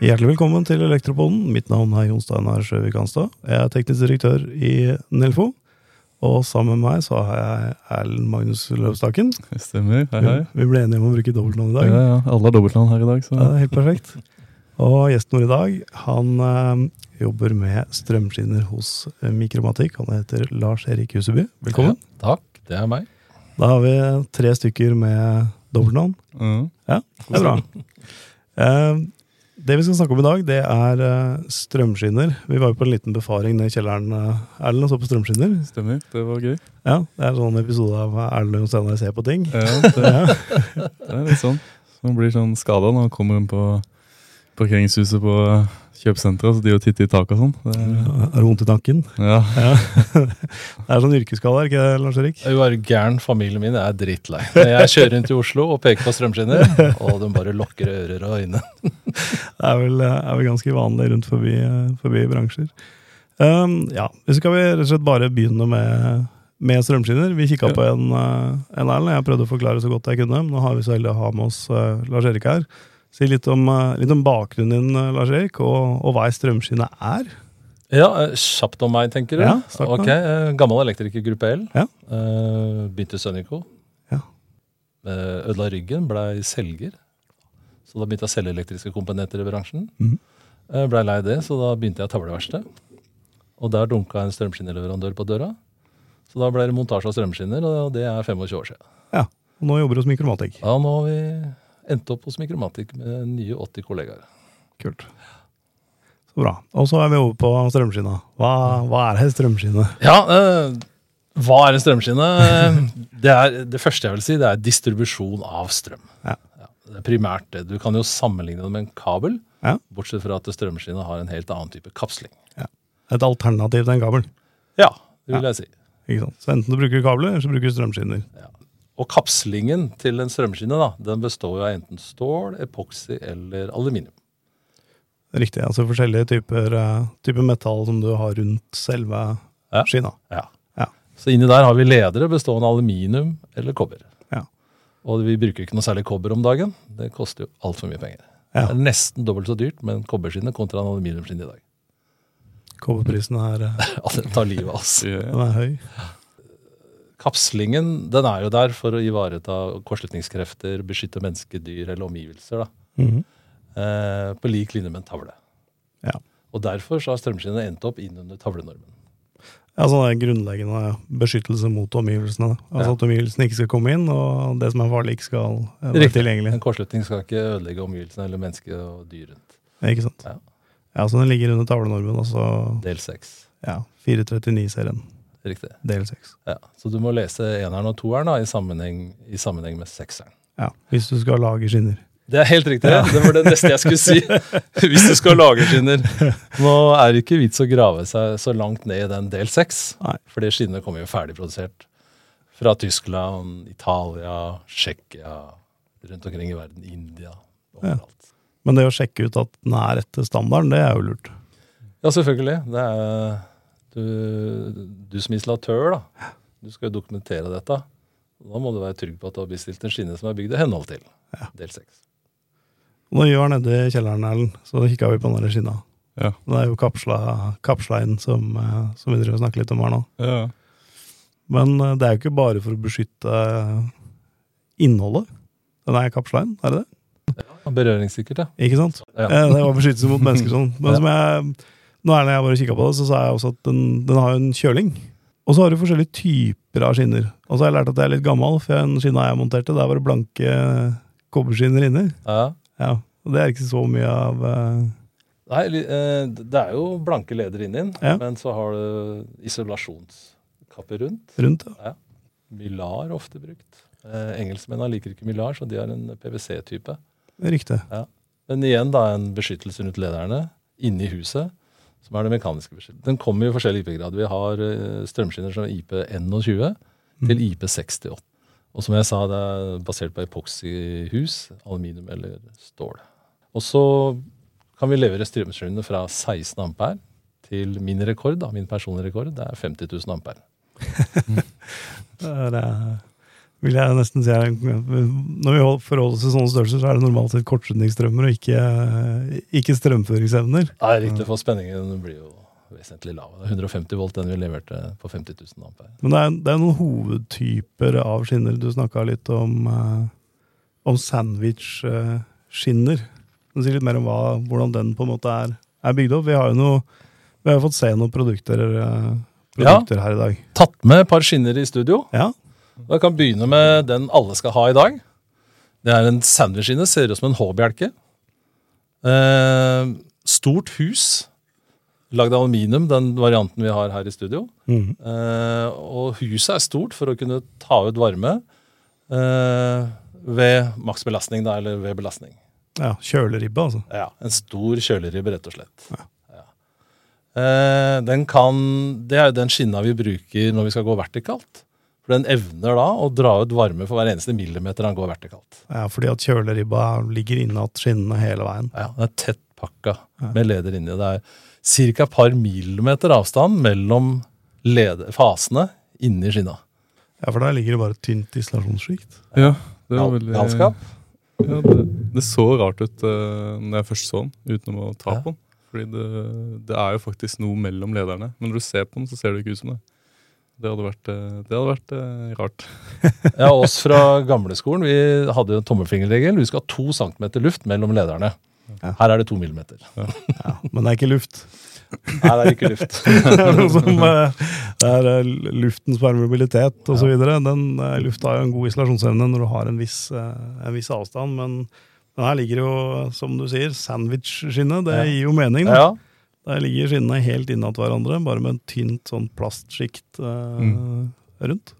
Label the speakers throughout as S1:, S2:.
S1: Hjertelig velkommen til Elektropoden. Mitt navn er Jon Steinar Sjøvik Hanstad. Jeg er teknisk direktør i Nelfo. Og sammen med meg så har jeg Erlend Magnus Løvstaken.
S2: Det stemmer. Hei, hei.
S1: Vi ble enige om å bruke dobbeltnavn i dag.
S2: Ja, ja. Alle har dobbeltnavn her i dag, så
S1: Ja, det er helt perfekt. Og gjesten vår i dag, han eh, jobber med strømskinner hos eh, Mikromatikk. Han heter Lars Erik Huseby. Velkommen.
S3: Ja, takk, det er meg.
S1: Da har vi tre stykker med dobbeltnavn.
S2: Mm.
S1: Det er bra. Eh, Det vi skal snakke om i dag, det er eh, strømskinner. Vi var jo på en liten befaring ned i kjelleren, eh, Erlend, og så på strømskinner.
S2: Stemmer. Det var gøy.
S1: Ja, Det er en sånn episode av Erlend og Steinar ser på ting.
S2: Ja, det, det er litt sånn. Så Man blir sånn skada når man kommer inn på parkeringshuset på eh, kjøpesenteret, så de jo titter i taket og sånn. Det-
S1: Er det vondt i tanken?
S2: Ja.
S1: Ja. Det er sånn yrkesskade, er det ikke det, Lars Erik?
S3: Jeg var gæren, familien min er drittlei. Jeg kjører rundt i Oslo og peker på strømskinner, og de bare lukker ører og øyne.
S1: Det er vel, eh, er vel ganske vanlig rundt forbi, eh, forbi bransjer. Um, ja, så skal vi rett og slett bare begynne med, med strømskinner. Vi kikka
S2: Ja.
S1: på en, eh, en Erlend. Jeg prøvde å forklare så godt jeg kunne. men Nå har vi så heldig å ha med oss eh, Lars Erik her. Si litt om, eh, litt om bakgrunnen din, eh, Lars Erik, og, og hva ei strømskinne er.
S3: Ja, eh, kjapt om meg, tenker du?
S1: Ja, snakk om
S3: Ok, eh, Gammel elektriker gruppe L.
S1: Ja.
S3: Eh, Begynte i Sønnico.
S1: Ja.
S3: Eh, Ødela ryggen, blei selger. Så da begynte jeg å selge elektriske komponenter i bransjen.
S1: Mhm.
S3: Eh, Blei lei det, så da begynte jeg i tavleverksted. Og der dunka en strømskinneleverandør på døra. Så da ble det montasje av strømskinner, og det er 25 år siden.
S1: Og nå jobber du hos Mikromatik.
S3: Ja, nå har vi endt opp hos Mikromatik med nye 80 kollegaer.
S1: Kult. Så bra. Og så er vi over på strømskinna. Hva, hva er ei strømskinne?
S3: Ja, eh, hva er en strømskinne? Det, er, det første jeg vil si, det er distribusjon av strøm.
S1: Ja.
S3: det er primært det. Du kan jo sammenligne det med en kabel,
S1: Ja.
S3: bortsett fra at strømskinne har en helt annen type kapsling.
S1: Et alternativ til en kabel.
S3: Ja, det vil jeg si.
S1: Ikke sant? Så enten du bruker kabler, eller så bruker du strømskinner.
S3: Og kapslingen til en strømskinne da, den består jo av enten stål, epoksy eller aluminium.
S1: Riktig. Altså forskjellige typer, eh, typer metall som du har rundt selve
S3: Ja.
S1: skinna.
S3: Ja.
S1: Ja.
S3: Så inni der har vi ledere bestående av aluminium eller kobber.
S1: Ja.
S3: Og vi bruker ikke noe særlig kobber om dagen. Det koster jo altfor mye penger.
S1: Ja.
S3: Det er nesten dobbelt så dyrt med en kobberskinne kontra en aluminiumskinne i dag.
S1: Kobberprisen er, eh,
S3: Ja, det tar livet av oss.
S2: Ja.
S1: den er høy.
S3: Kapslingen den er jo der for å ivareta kortslutningskrefter, beskytte mennesker, dyr eller omgivelser. da.
S1: Mhm.
S3: Eh, på lik linje med en tavle.
S1: Ja.
S3: Og derfor så har strømskinnene endt opp inn under tavlenormen.
S1: Ja, sånn er grunnleggende beskyttelse mot omgivelsene. da. Altså
S3: Ja.
S1: At omgivelsene ikke skal komme inn, og det som er farlig, ikke skal eh, være
S3: Riktig.
S1: tilgjengelig.
S3: En kortslutning skal ikke ødelegge omgivelsene eller mennesker og dyr rundt.
S1: Ikke sant?
S3: Ja.
S1: Ja, så den ligger under tavlenormen, altså
S3: Del seks.
S1: ja, 439-serien,
S3: Riktig.
S1: del 6.
S3: Ja. Så du må lese eneren og toeren da, i, sammenheng, i sammenheng med sekseren.
S1: Ja, hvis du skal lage skinner.
S3: Det er helt riktig. Det var det neste jeg skulle si. Hvis du skal lage skinner. Nå er det ikke vits å grave seg så langt ned i den del seks.
S1: Nei.
S3: For det skinnet kommer jo ferdigprodusert fra Tyskland, Italia, Tsjekkia, rundt omkring i verden, India, overalt.
S1: Men det å sjekke ut at den er etter standarden, det er jo lurt.
S3: Ja, selvfølgelig. Det er du, du som installatør, da. Du skal jo dokumentere dette. Da må du være trygg på at du har bestilt en skinne som er bygd i henhold til del seks.
S1: Og når vi var nede i kjelleren, Erlend, så kikka vi på den der skinna.
S2: Ja.
S1: Det er jo kapsla, kapsla inn som, eh, som vi driver og snakker litt om her nå.
S2: Ja.
S1: Men eh, det er jo ikke bare for å beskytte eh, innholdet. Den er kapsla inn, er det det?
S3: Berøringssikkert, ja.
S1: Ikke sant?
S3: ja.
S1: Eh, Det var beskyttelse mot mennesker sånn. Men
S3: Ja.
S1: som jeg, nå Erlend, jeg bare kikka på det, så sa jeg også at den, den har jo en kjøling. Og så har du forskjellige typer av skinner. Og så har jeg lært at jeg er litt gammel, for den skinna jeg monterte, der var det blanke kobberskinner inni.
S3: ja.
S1: Ja, og det er ikke så mye av eh,
S3: Nei, li- eh, det er jo blanke leder inni den,
S1: Ja.
S3: men så har du isolasjonskapper rundt.
S1: rundt. ja.
S3: Mylar er ofte brukt. Eh, engelskmennene liker ikke mylar, så de har en PwC-type.
S1: Riktig.
S3: Men igjen da en beskyttelse rundt lederne inne i huset, som er det mekaniske beskyttelsen. Den kommer jo i forskjellig IP-grad. Vi har eh, strømskinner som IP21
S1: Mm.
S3: til IP68. Og som jeg sa, det er basert på epoxyhus, aluminium eller stål. Og så kan vi levere strømskinnene fra 16 ampere til min rekord, da, min personlige rekord, det er 50 000 ampere.
S1: Det er, eh, vil jeg nesten si. er- Når vi hold- forholder oss til sånne størrelser, så er det normalt sett kortslutningsstrømmer og ikke, ikke strømføringsevner.
S3: Nei, riktig, for spenningen blir jo vesentlig lav. Det er 150 volt den vi leverte på 50 000 ampere.
S1: Men det er, det er noen hovedtyper av skinner. Du snakka litt om, eh, om sandwich-skinner. Du sier litt mer om hva, hvordan den på en måte er, er bygd opp. Vi har jo noe, vi har jo fått se noen produkter, eh,
S3: Ja.
S1: produkter her i dag.
S3: Tatt med et par skinner i studio.
S1: Ja,
S3: Og Jeg kan begynne med den alle skal ha i dag. Det er en sandwichskinne, ser ut som en H-bjelke. Eh, stort hus, lagd av aluminium, den varianten vi har her i studio.
S1: Mhm.
S3: Eh, og huset er stort for å kunne ta ut varme eh, ved maksbelastning, da, eller ved belastning.
S1: ja Kjøleribbe, altså.
S3: Ja, En stor kjøleribbe, rett og slett. Ja. Eh, den kan, det er jo den skinna vi bruker når vi skal gå vertikalt. For den evner da å dra ut varme for hver eneste millimeter han går vertikalt.
S1: Ja, fordi at kjøleribba ligger innat skinnene hele veien.
S3: Ja, Den er tett pakka med leder inni. Det er ca. et par millimeter avstand mellom leder, fasene inni skinna.
S1: Ja, For der ligger det bare et tynt isolasjonssjikt.
S2: Ja, det var
S3: Gal-
S2: veldig
S3: Galskap.
S2: Ja, det, det så rart ut uh, når jeg først så den, utenom å ta
S3: Ja.
S2: på den. Fordi det, det er jo faktisk noe mellom lederne. Men når du ser på den, så ser det ikke ut som det. Det hadde vært, eh, det hadde vært eh, rart.
S3: Ja, oss fra gamleskolen, vi hadde jo en tommelfingerregel. Vi skal ha to centimeter luft mellom lederne.
S1: Ja.
S3: Her er det to millimeter.
S1: Ja, men det er ikke luft.
S3: Her er det ikke luft.
S1: Det er noe som eh, det er eh, luftens permeabilitet osv. Den eh, lufta har jo en god isolasjonsevne når du har en viss, eh, en viss avstand, men men her ligger jo, som du sier, sandwich-skinnet. Det
S3: Ja.
S1: gir jo mening. da.
S3: Ja,
S1: Der ligger skinnene helt innat hverandre, bare med en tynt sånn plastsjikt eh,
S2: Mm.
S1: rundt.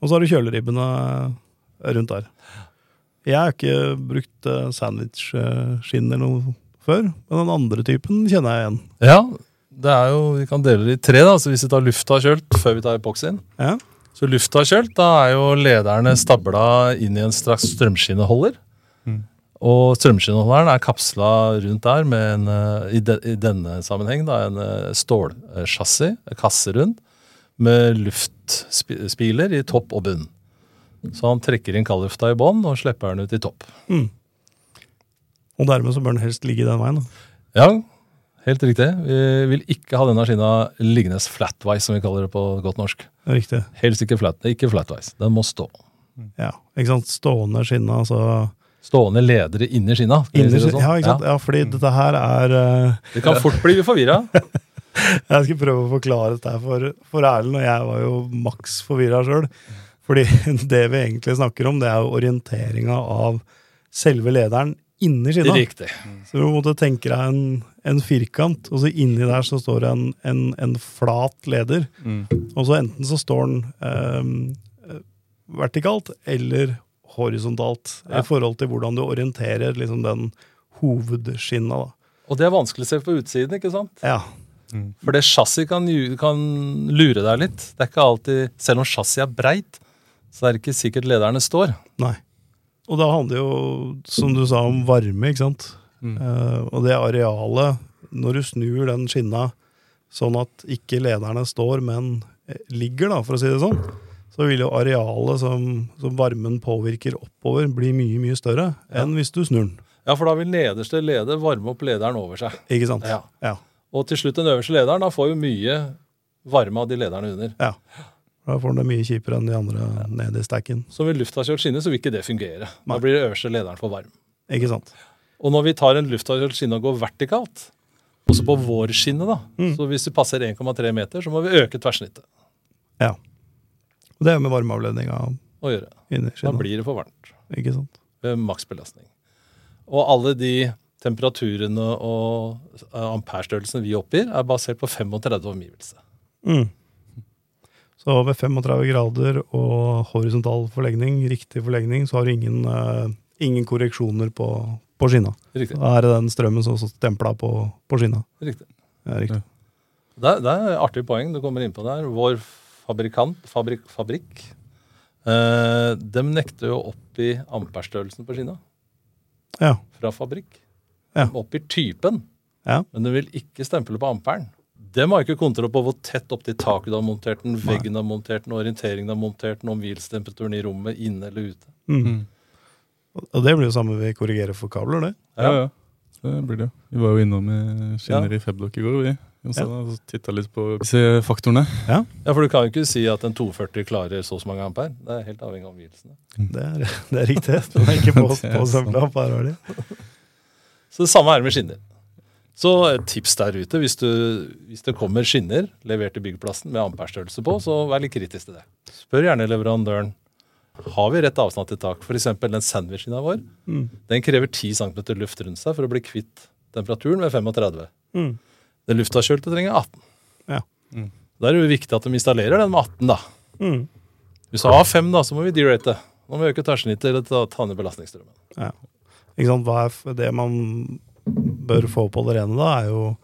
S1: Og så har du kjøleribbene eh, rundt der. Jeg har ikke brukt eh, sandwich-skinn eller noe før, men den andre typen kjenner jeg igjen.
S3: ja det er jo, vi kan dele det i tre. da, så Hvis vi tar lufta kjølt før vi tar epoxyen
S1: Ja,
S3: Så lufta kjølt, da er jo lederne stabla inn i en straks strømskinneholder.
S2: Mm.
S3: Og strømskinneholderen er kapsla rundt der med en, eh, i, de, i denne sammenheng, da, en eh, stålchassis, en kasse rundt, med luftspiler i topp og bunn. Så han trekker inn kaldlufta i bånn og slipper den ut i topp.
S1: Og dermed så bør den helst ligge den veien. Da.
S3: Ja, helt riktig. Vi vil ikke ha denne skinna liggende flatwise, som vi kaller det på godt norsk.
S1: Det er Riktig.
S3: Helst ikke, flat, ikke flatwise. Den må stå.
S1: Ja, ikke sant? Stående skinne, altså
S3: Stående ledere inni skinna. skal vi si det
S1: innerst-
S3: sånn?
S1: Ja, ikke sant? Ja, fordi dette her er eh,
S3: Vi kan fort bli forvirra.
S1: Jeg skal prøve å forklare dette her for, for Erlend, og jeg var jo maks forvirra sjøl. Fordi det vi egentlig snakker om, det er jo orienteringa av selve lederen inni skinna.
S3: Riktig.
S1: Så du måtte tenke deg en, en firkant, og så inni der så står det en, en, en flat leder.
S2: Mm.
S1: Og så enten så står den eh, eh, vertikalt eller horisontalt
S3: Ja.
S1: i forhold til hvordan du orienterer liksom, den hovedskinna. da.
S3: Og det er vanskelig å se på utsiden, ikke sant?
S1: Ja,
S3: For det chassis kan, ju- kan lure deg litt. Det er ikke alltid, Selv om chassis er breit, så er det ikke sikkert lederne står.
S1: Nei. Og da handler det jo, som du sa, om varme, ikke sant?
S2: Mm.
S1: Eh, og det arealet, når du snur den skinna sånn at ikke lederne står, men eh, ligger, da, for å si det sånn, så vil jo arealet som, som varmen påvirker oppover, bli mye, mye større enn hvis du snur den.
S3: Ja, for da vil nederste leder varme opp lederen over seg.
S1: Ikke sant?
S3: Ja.
S1: ja.
S3: Og til slutt den øverste lederen. Da får jo mye varme av de lederne under.
S1: ja. Da får den det mye kjipere enn de andre nede i stacken.
S3: Så ved luftkjølt skinne så vil ikke det fungere.
S1: Nei.
S3: Da blir den øverste lederen for varm.
S1: Ikke sant?
S3: Og når vi tar en luftkjølt skinne og går vertikalt, også på vår skinne, da Så hvis du passer 1,3 meter, så må vi øke tverrsnittet.
S1: Ja. Og det er jo med varmeavledninga
S3: å gjøre.
S1: inni
S3: Da
S1: skinna.
S3: blir det for varmt
S1: Ikke sant?
S3: ved maksbelastning. Og alle de temperaturene og eh, amperestørrelsene vi oppgir, er basert på 35 omgivelse.
S1: Mm. Så ved 35 grader og horisontal forlegning, riktig forlegning, så har du ingen, eh, ingen korreksjoner på, på skinna.
S3: Riktig.
S1: Da er det den strømmen som står stempla på, på skinna.
S3: riktig.
S1: Ja, riktig.
S3: Det, er- det er et artig poeng du kommer inn på der. Vår fabrikant, fabrikk, fabrikk eh, dem nekter jo å oppgi amperestørrelsen på skinna
S1: Ja.
S3: fra fabrikk.
S1: Ja.
S3: De oppgir typen,
S1: Ja.
S3: men de vil ikke stemple på amperen. Dem har ikke kontroll på hvor tett opp til taket du har montert den, veggen du har montert den, orienteringen du har montert den, om hvilstemperaturen i rommet, inne eller ute.
S1: Mm.
S2: Mm.
S1: Og det blir jo samme vi korrigerer for kabler, det.
S2: Ja, ja. Det blir det. Vi var jo innom eh, skinner i Feblock i går, vi.
S1: Ja.
S2: Jonsen, Og titta litt på disse faktorene.
S3: Ja, for du kan jo ikke si at en 240 klarer så og så mange ampere. Det er helt avhengig av omgivelsene.
S1: Det er, det er riktig. Den er ikke på,
S2: Det er
S1: på
S2: sant.
S1: sampla, bare har de.
S3: Så det samme er det med skinner. Så et tips der ute, hvis, du, hvis det kommer skinner levert til byggeplassen med amperestørrelse på, så vær litt kritisk til det. Spør gjerne leverandøren. Har vi rett avstand til tak? F.eks. den sandwichen vår.
S1: Mm.
S3: Den krever 10 cm luft rundt seg for å bli kvitt temperaturen ved 35.
S1: Mm.
S3: Den luftavkjølte trenger 18.
S1: Ja.
S2: Mm.
S3: Da er det jo viktig at de installerer den med 18, da.
S1: Mm.
S3: Hvis du har 5, da, så må vi derate. Nå må vi øke tverrsnittet eller ta, ta ned belastningsstrømmen.
S1: Ikke sant? Hva er f- det man bør få på det rene, da, er jo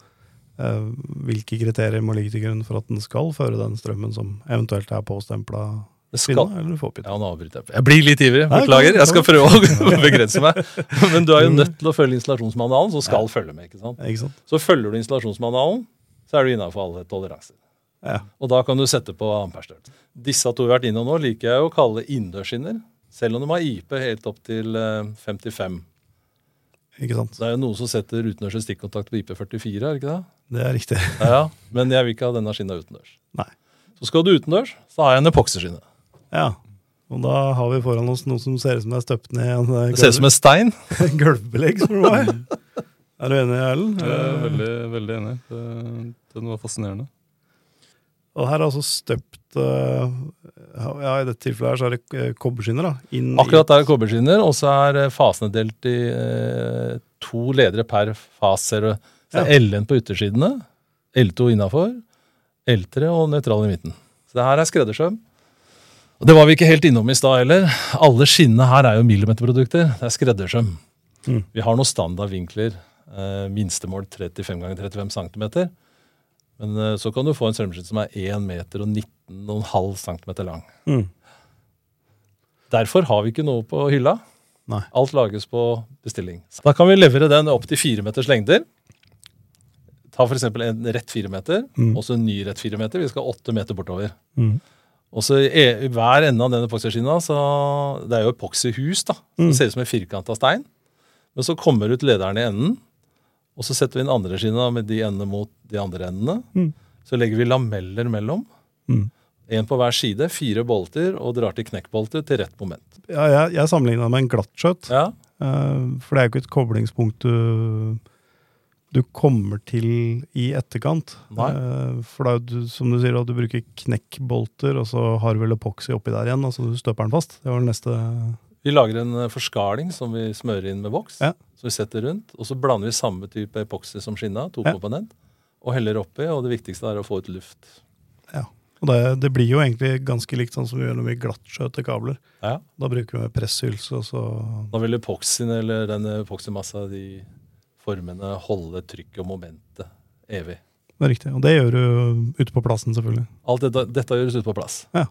S1: eh, hvilke kriterier må ligge til grunn for at den skal føre den strømmen som eventuelt er påstempla
S3: Det skal,
S1: pinne eller påpinne.
S3: Ja, nå avbryter jeg. Jeg blir litt ivrig.
S1: Nei,
S3: Beklager.
S1: kom,
S3: Jeg skal
S1: kom.
S3: prøve å begrense meg. Men du er jo nødt til å følge installasjonsmanualen, som skal følge med. ikke sant?
S1: Ikke sant?
S3: Så følger du installasjonsmanualen, så er du innafor alle toleranser.
S1: Ja.
S3: Og da kan du sette på amperestørrelse. Disse to vi har vært innom nå, liker jeg å kalle innendørsskinner. Selv om de har IP helt opp til eh, 55.
S1: Ikke sant?
S3: Så det er jo noen som setter utendørs stikkontakt på IP44, er det ikke det?
S1: Det er riktig.
S3: Ja, ja. Men jeg vil ikke ha denne skinna utendørs.
S1: Nei.
S3: Så skal du utendørs, så har jeg en epoksyskinne.
S1: Ja. Og da har vi foran oss noe som ser ut som det er støpt ned i en eh,
S3: Det ser ut som Mm. en stein.
S1: gulv- gulvbelegg, spør du meg. Er du enig, Erlend?
S2: Jeg er veldig, veldig enig. Det, den var fascinerende.
S1: Og her er altså støpt eh, Ja, i dette tilfellet her så er det eh, kobberskinner, da. Inn i-
S3: Akkurat der er kobberskinner, og så er eh, fasene delt i eh, to ledere per fas. ser du. Så det er L1 på yttersidene, L2 innafor, L3 og nøytral i midten. Så det her er skreddersøm. Og det var vi ikke helt innom i stad heller. Alle skinnene her er jo millimeterprodukter. Det er skreddersøm.
S1: Mm.
S3: Vi har noen standardvinkler. Eh, minstemål 35 ganger 35 cm. Men eh, så kan du få en strømskinn som er 1 meter og 19,5 cm lang.
S1: Mm.
S3: Derfor har vi ikke noe på hylla.
S1: Nei.
S3: Alt lages på bestilling. Da kan vi levere den opp til fire meters lengder. Ta f.eks. en rett fire meter,
S1: Mm.
S3: og så en ny rett fire meter. Vi skal åtte meter bortover.
S1: Mm.
S3: Og så i, e- i hver ende av den epoxyskinna, så Det er jo epoxyhus, da. Som
S1: Mm.
S3: ser ut som en firkanta stein. Men så kommer ut lederen i enden, og så setter vi den andre skinna med de endene mot de andre endene.
S1: Mm.
S3: Så legger vi lameller mellom.
S1: Mm.
S3: Én på hver side, fire bolter, og drar til knekkbolter til rett moment.
S1: Ja, jeg, jeg sammenligna med en glattskjøt.
S3: Ja,
S1: Eh, For det er jo ikke et koblingspunkt du, du kommer til i etterkant.
S3: Nei.
S1: Eh, For da, er du, som du sier, at du bruker knekkbolter, og så har du vel epoxy oppi der igjen, og så du støper den fast. Det var det neste
S3: Vi lager en eh, forskaling som vi smører inn med voks.
S1: Ja.
S3: Så vi setter rundt, og så blander vi samme type epoxy som skinna, to
S1: Ja.
S3: komponent, og heller oppi. Og det viktigste er å få ut luft.
S1: Og det, det blir jo egentlig ganske likt sånn som vi gjør når vi glattskjøter kabler.
S3: Ja.
S1: Da bruker vi presshylse, og så
S3: Da vil epoxyen eller den epoxymassa, de formene, holde trykket og momentet evig.
S1: Det er riktig. Og det gjør du ute på plassen, selvfølgelig.
S3: Alt dette, dette gjøres ute på plass.
S1: Ja.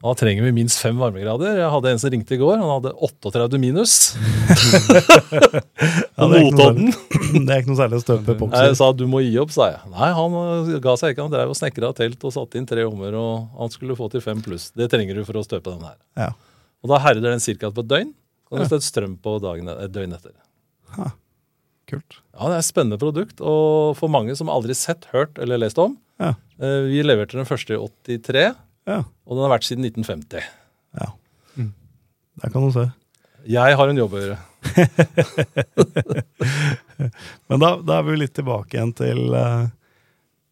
S3: Da trenger vi minst fem varmegrader. Jeg hadde en som ringte i går. Han hadde 38 minus.
S1: Ja,
S3: På
S1: det er ikke noe
S3: Notodden.
S1: særlig- Det er ikke noe særlig å støpe
S3: Jeg
S1: epoxy.
S3: sa du må gi opp, sa jeg. Nei, han eh, ga seg ikke. Han drev og snekra telt og satte inn tre hummer, og han skulle få til fem pluss. Det trenger du for å støpe den her.
S1: Ja.
S3: Og da herder den cirka på et døgn. Kan
S1: Ja.
S3: du støtte strøm på dagen, et døgn etter.
S1: Kult.
S3: Ja, det er et spennende produkt, og for mange som aldri sett, hørt eller lest om.
S1: Ja.
S3: Eh, Vi leverte den første i 83,
S1: Ja.
S3: og den har vært siden 1950.
S1: ja.
S2: Mm.
S1: Der kan du se.
S3: Jeg har en jobb å gjøre.
S1: Men da, da er vi jo litt tilbake igjen til, eh,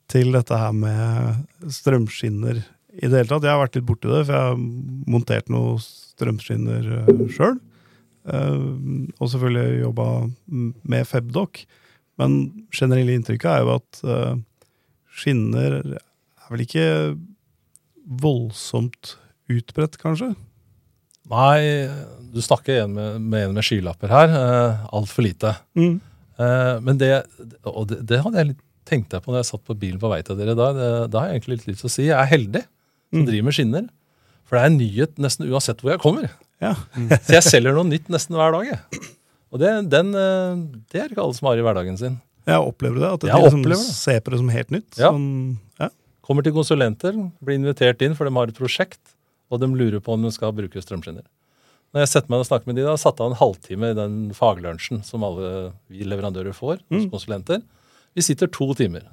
S1: til dette her med strømskinner i det hele tatt. Jeg har vært litt borti det, for jeg har montert noen strømskinner sjøl. Og selvfølgelig jobba m- med Febdoc. Men generelle inntrykket er jo at eh, skinner er vel ikke voldsomt utbredt, kanskje?
S3: Nei, du snakker igjen med, med en med skylapper her. Eh, Altfor lite.
S1: Mm.
S3: Eh, men det, og det, det hadde jeg litt tenkt deg på når jeg satt på bilen på vei til dere. Da, det, da har jeg egentlig litt lyst til å si jeg er heldig som
S1: Mm.
S3: driver med skinner. For det er en nyhet nesten uansett hvor jeg kommer.
S1: Ja.
S3: Så jeg selger noe nytt nesten hver dag. Jeg. Og det, den, eh, det er ikke alle som har i hverdagen sin.
S1: Jeg opplever det. At
S3: Jeg
S1: de liksom
S3: opplever det.
S1: ser på det som helt nytt.
S3: Ja.
S1: Sånn, ja.
S3: Kommer til konsulenter, blir invitert inn for de har et prosjekt, og de lurer på om de skal bruke strømskinner. Når jeg setter meg og snakker med de, da, satte av en halvtime i den faglunsjen som alle vi leverandører får hos
S1: Mm.
S3: konsulenter. Vi sitter to timer,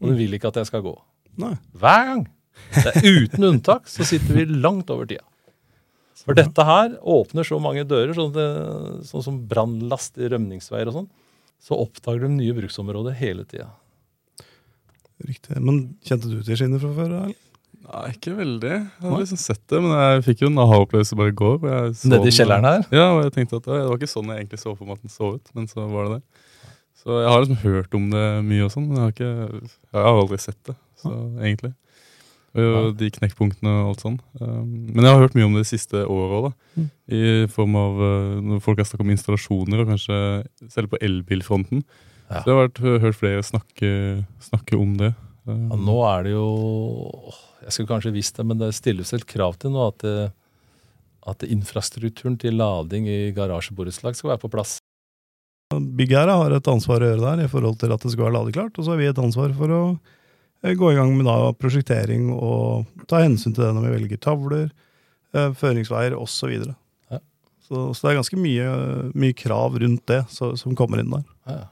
S3: og de vil ikke at jeg skal gå.
S1: Nei.
S3: Hver gang! Det er uten unntak så sitter vi langt over tida. For dette her åpner så mange dører, sånn, det, sånn som brannlast i rømningsveier og sånn. Så oppdager de nye bruksområder hele tida.
S1: Riktig. Men kjente du til skinner fra før? Eller?
S2: Nei, ikke veldig. Jeg hadde liksom sett det, men jeg fikk jo en aha-opplevelse bare i går. hvor jeg så
S3: Nede i
S2: den.
S3: kjelleren her.
S2: Ja, og jeg tenkte at ja, det var ikke sånn jeg egentlig så for meg at den så ut, men så var det det. Så jeg har liksom hørt om det mye og sånn, men jeg har, ikke, jeg har aldri sett det, så egentlig. Og jo, de knekkpunktene og alt sånn. Um, Men jeg har hørt mye om det de siste året òg, da.
S1: Mm.
S2: I form av uh, når folk har snakket om installasjoner, og kanskje selv på elbilfronten. Så
S3: Ja.
S2: jeg har vært, hørt flere snakke, snakke om det. Um,
S3: Ja, nå er det jo åh, Jeg skulle kanskje visst det, men det stilles et krav til nå at, eh, at infrastrukturen til lading i garasjeborettslag skal være på plass.
S1: Byggherre har et ansvar å gjøre der i forhold til at det skal være ladeklart, og så har vi et ansvar for å eh, gå i gang med da prosjektering og ta hensyn til det når vi velger tavler, eh, føringsveier osv. Så,
S3: Ja.
S1: ja. så, så det er ganske mye, mye krav rundt det så, som kommer inn der.
S3: Ja,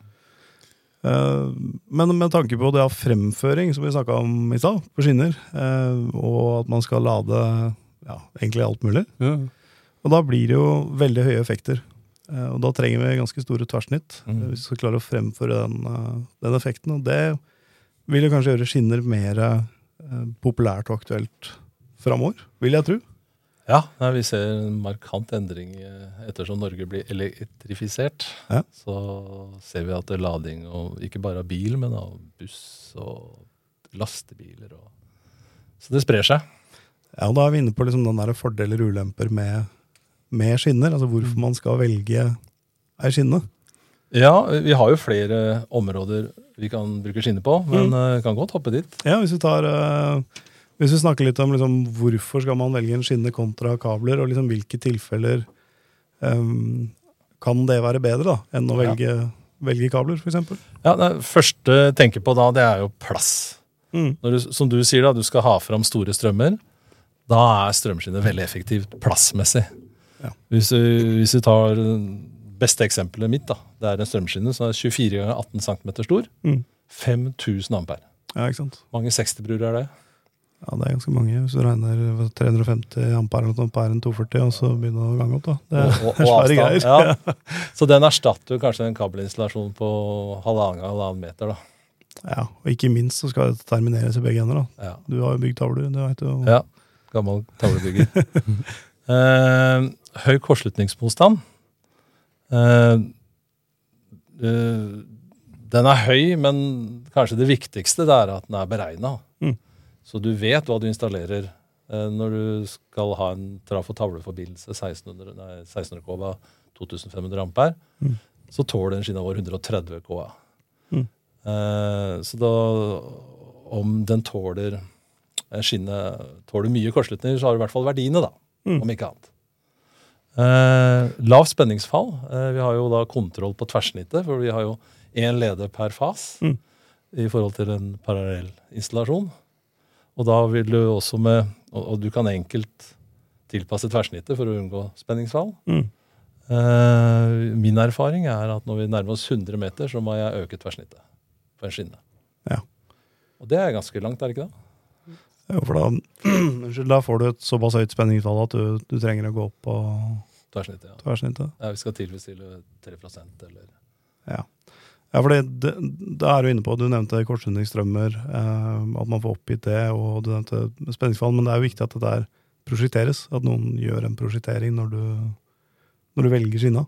S1: Eh, Men med tanke på det av fremføring, som vi snakka om i stad, på skinner, eh, og at man skal lade ja, egentlig alt mulig,
S2: ja.
S1: og da blir det jo veldig høye effekter. Eh, Og da trenger vi ganske store tversnitt
S3: Mm.
S1: eh, hvis vi skal klare å fremføre den, eh, den effekten. Og det vil jo kanskje gjøre skinner mer eh, populært og aktuelt framover, vil jeg tro.
S3: ja nei, vi ser en markant endring eh, ettersom Norge blir elektrifisert.
S1: Ja.
S3: Så ser vi at det er lading, og ikke bare av bil, men av buss og lastebiler. Og så det sprer seg.
S1: Ja, og da er vi inne på liksom den der fordeler og ulemper med, med skinner. Altså hvorfor man skal velge ei skinne.
S3: Ja, vi har jo flere områder vi kan bruke skinner på, men eh, kan godt hoppe dit.
S1: Ja, hvis vi tar eh, Hvis vi snakker litt om liksom, hvorfor skal man velge en skinne kontra kabler, og liksom, hvilke tilfeller eh, kan det være bedre da, enn å
S3: Ja.
S1: velge, velge kabler, f.eks.?
S3: Ja, Det første jeg tenker på da, det er jo plass.
S1: Mm.
S3: Når du, som du sier, da, du skal ha fram store strømmer. Da er strømskinner veldig effektivt plassmessig.
S1: Ja.
S3: Hvis, du, hvis vi tar det beste eksempelet mitt, da, det er en strømskinne som er 24 ganger 18 cm stor.
S1: Mm.
S3: 5000 ampere.
S1: Ja, ikke sant?
S3: Mange 60-bruer er det.
S1: Ja, det er ganske mange. Hvis du regner 350 ampere eller noe sånt per en 240, og så begynner du å gange opp, da. Det er
S3: og,
S1: svære greier.
S3: Ja. Så den erstatter jo kanskje en kabelinstallasjon på halvannen ganger halvannen meter. da.
S1: Ja, og ikke minst så skal det termineres i begge ender, da.
S3: Ja.
S1: Du har jo bygd tavler, det veit du. jo.
S3: Ja. Gammel tavlebygger. eh, høy kortslutningsmotstand. Eh, eh, den er høy, men kanskje det viktigste det er at den er beregna.
S1: Mm.
S3: Så du vet hva du installerer eh, når du skal ha en traf- og tavleforbindelse 1600, nei, 1600 kVA, 2500 ampere.
S1: Mm.
S3: Så tåler den skinna vår 130 kVA.
S1: Mm.
S3: Eh, så da om den tåler eh, skinnet tåler mye kortslutninger, så har du i hvert fall verdiene, da.
S1: Mm.
S3: Om ikke annet. Eh, lavt spenningsfall. Eh, vi har jo da kontroll på tverrsnittet, for vi har jo én leder per fas
S1: Mm.
S3: i forhold til en parallell installasjon. Og da vil du også med Og, og du kan enkelt tilpasse tverrsnittet for å unngå spenningsfall.
S1: Mm.
S3: Eh, min erfaring er at når vi nærmer oss 100 meter, så må jeg øke tverrsnittet på en skinne.
S1: Ja.
S3: Og det er ganske langt, er det ikke det?
S1: Jo, for da, unnskyld, da får du et såpass høyt spenningstall at du, du trenger å gå opp på
S3: Tverrsnittet, ja.
S1: tverrsnittet.
S3: Ja, vi skal tilfredsstille 3 eller
S1: Ja, for det, det, det er du inne på. Du nevnte kortslutningsstrømmer, eh, at man får oppgitt det, og du nevnte spenningsfall, men det er jo viktig at det der prosjekteres. At noen gjør en prosjektering når du, når du velger skinna.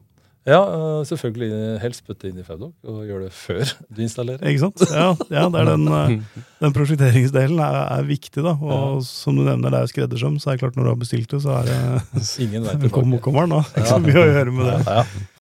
S3: Ja, øh, selvfølgelig helst putte inn i Faudoc og gjøre det før du installerer.
S1: Ikke sant? Ja, ja det er den,
S2: Mm.
S1: eh, den prosjekteringsdelen er, er viktig, da. Og som du nevner, det er jo skreddersøm, så er det klart når du har bestilt det, så er det
S3: Ingen veit
S1: Kommer
S3: tilbake.
S1: kommer den, da. Ikke så mye å gjøre med det.
S3: Ja, ja.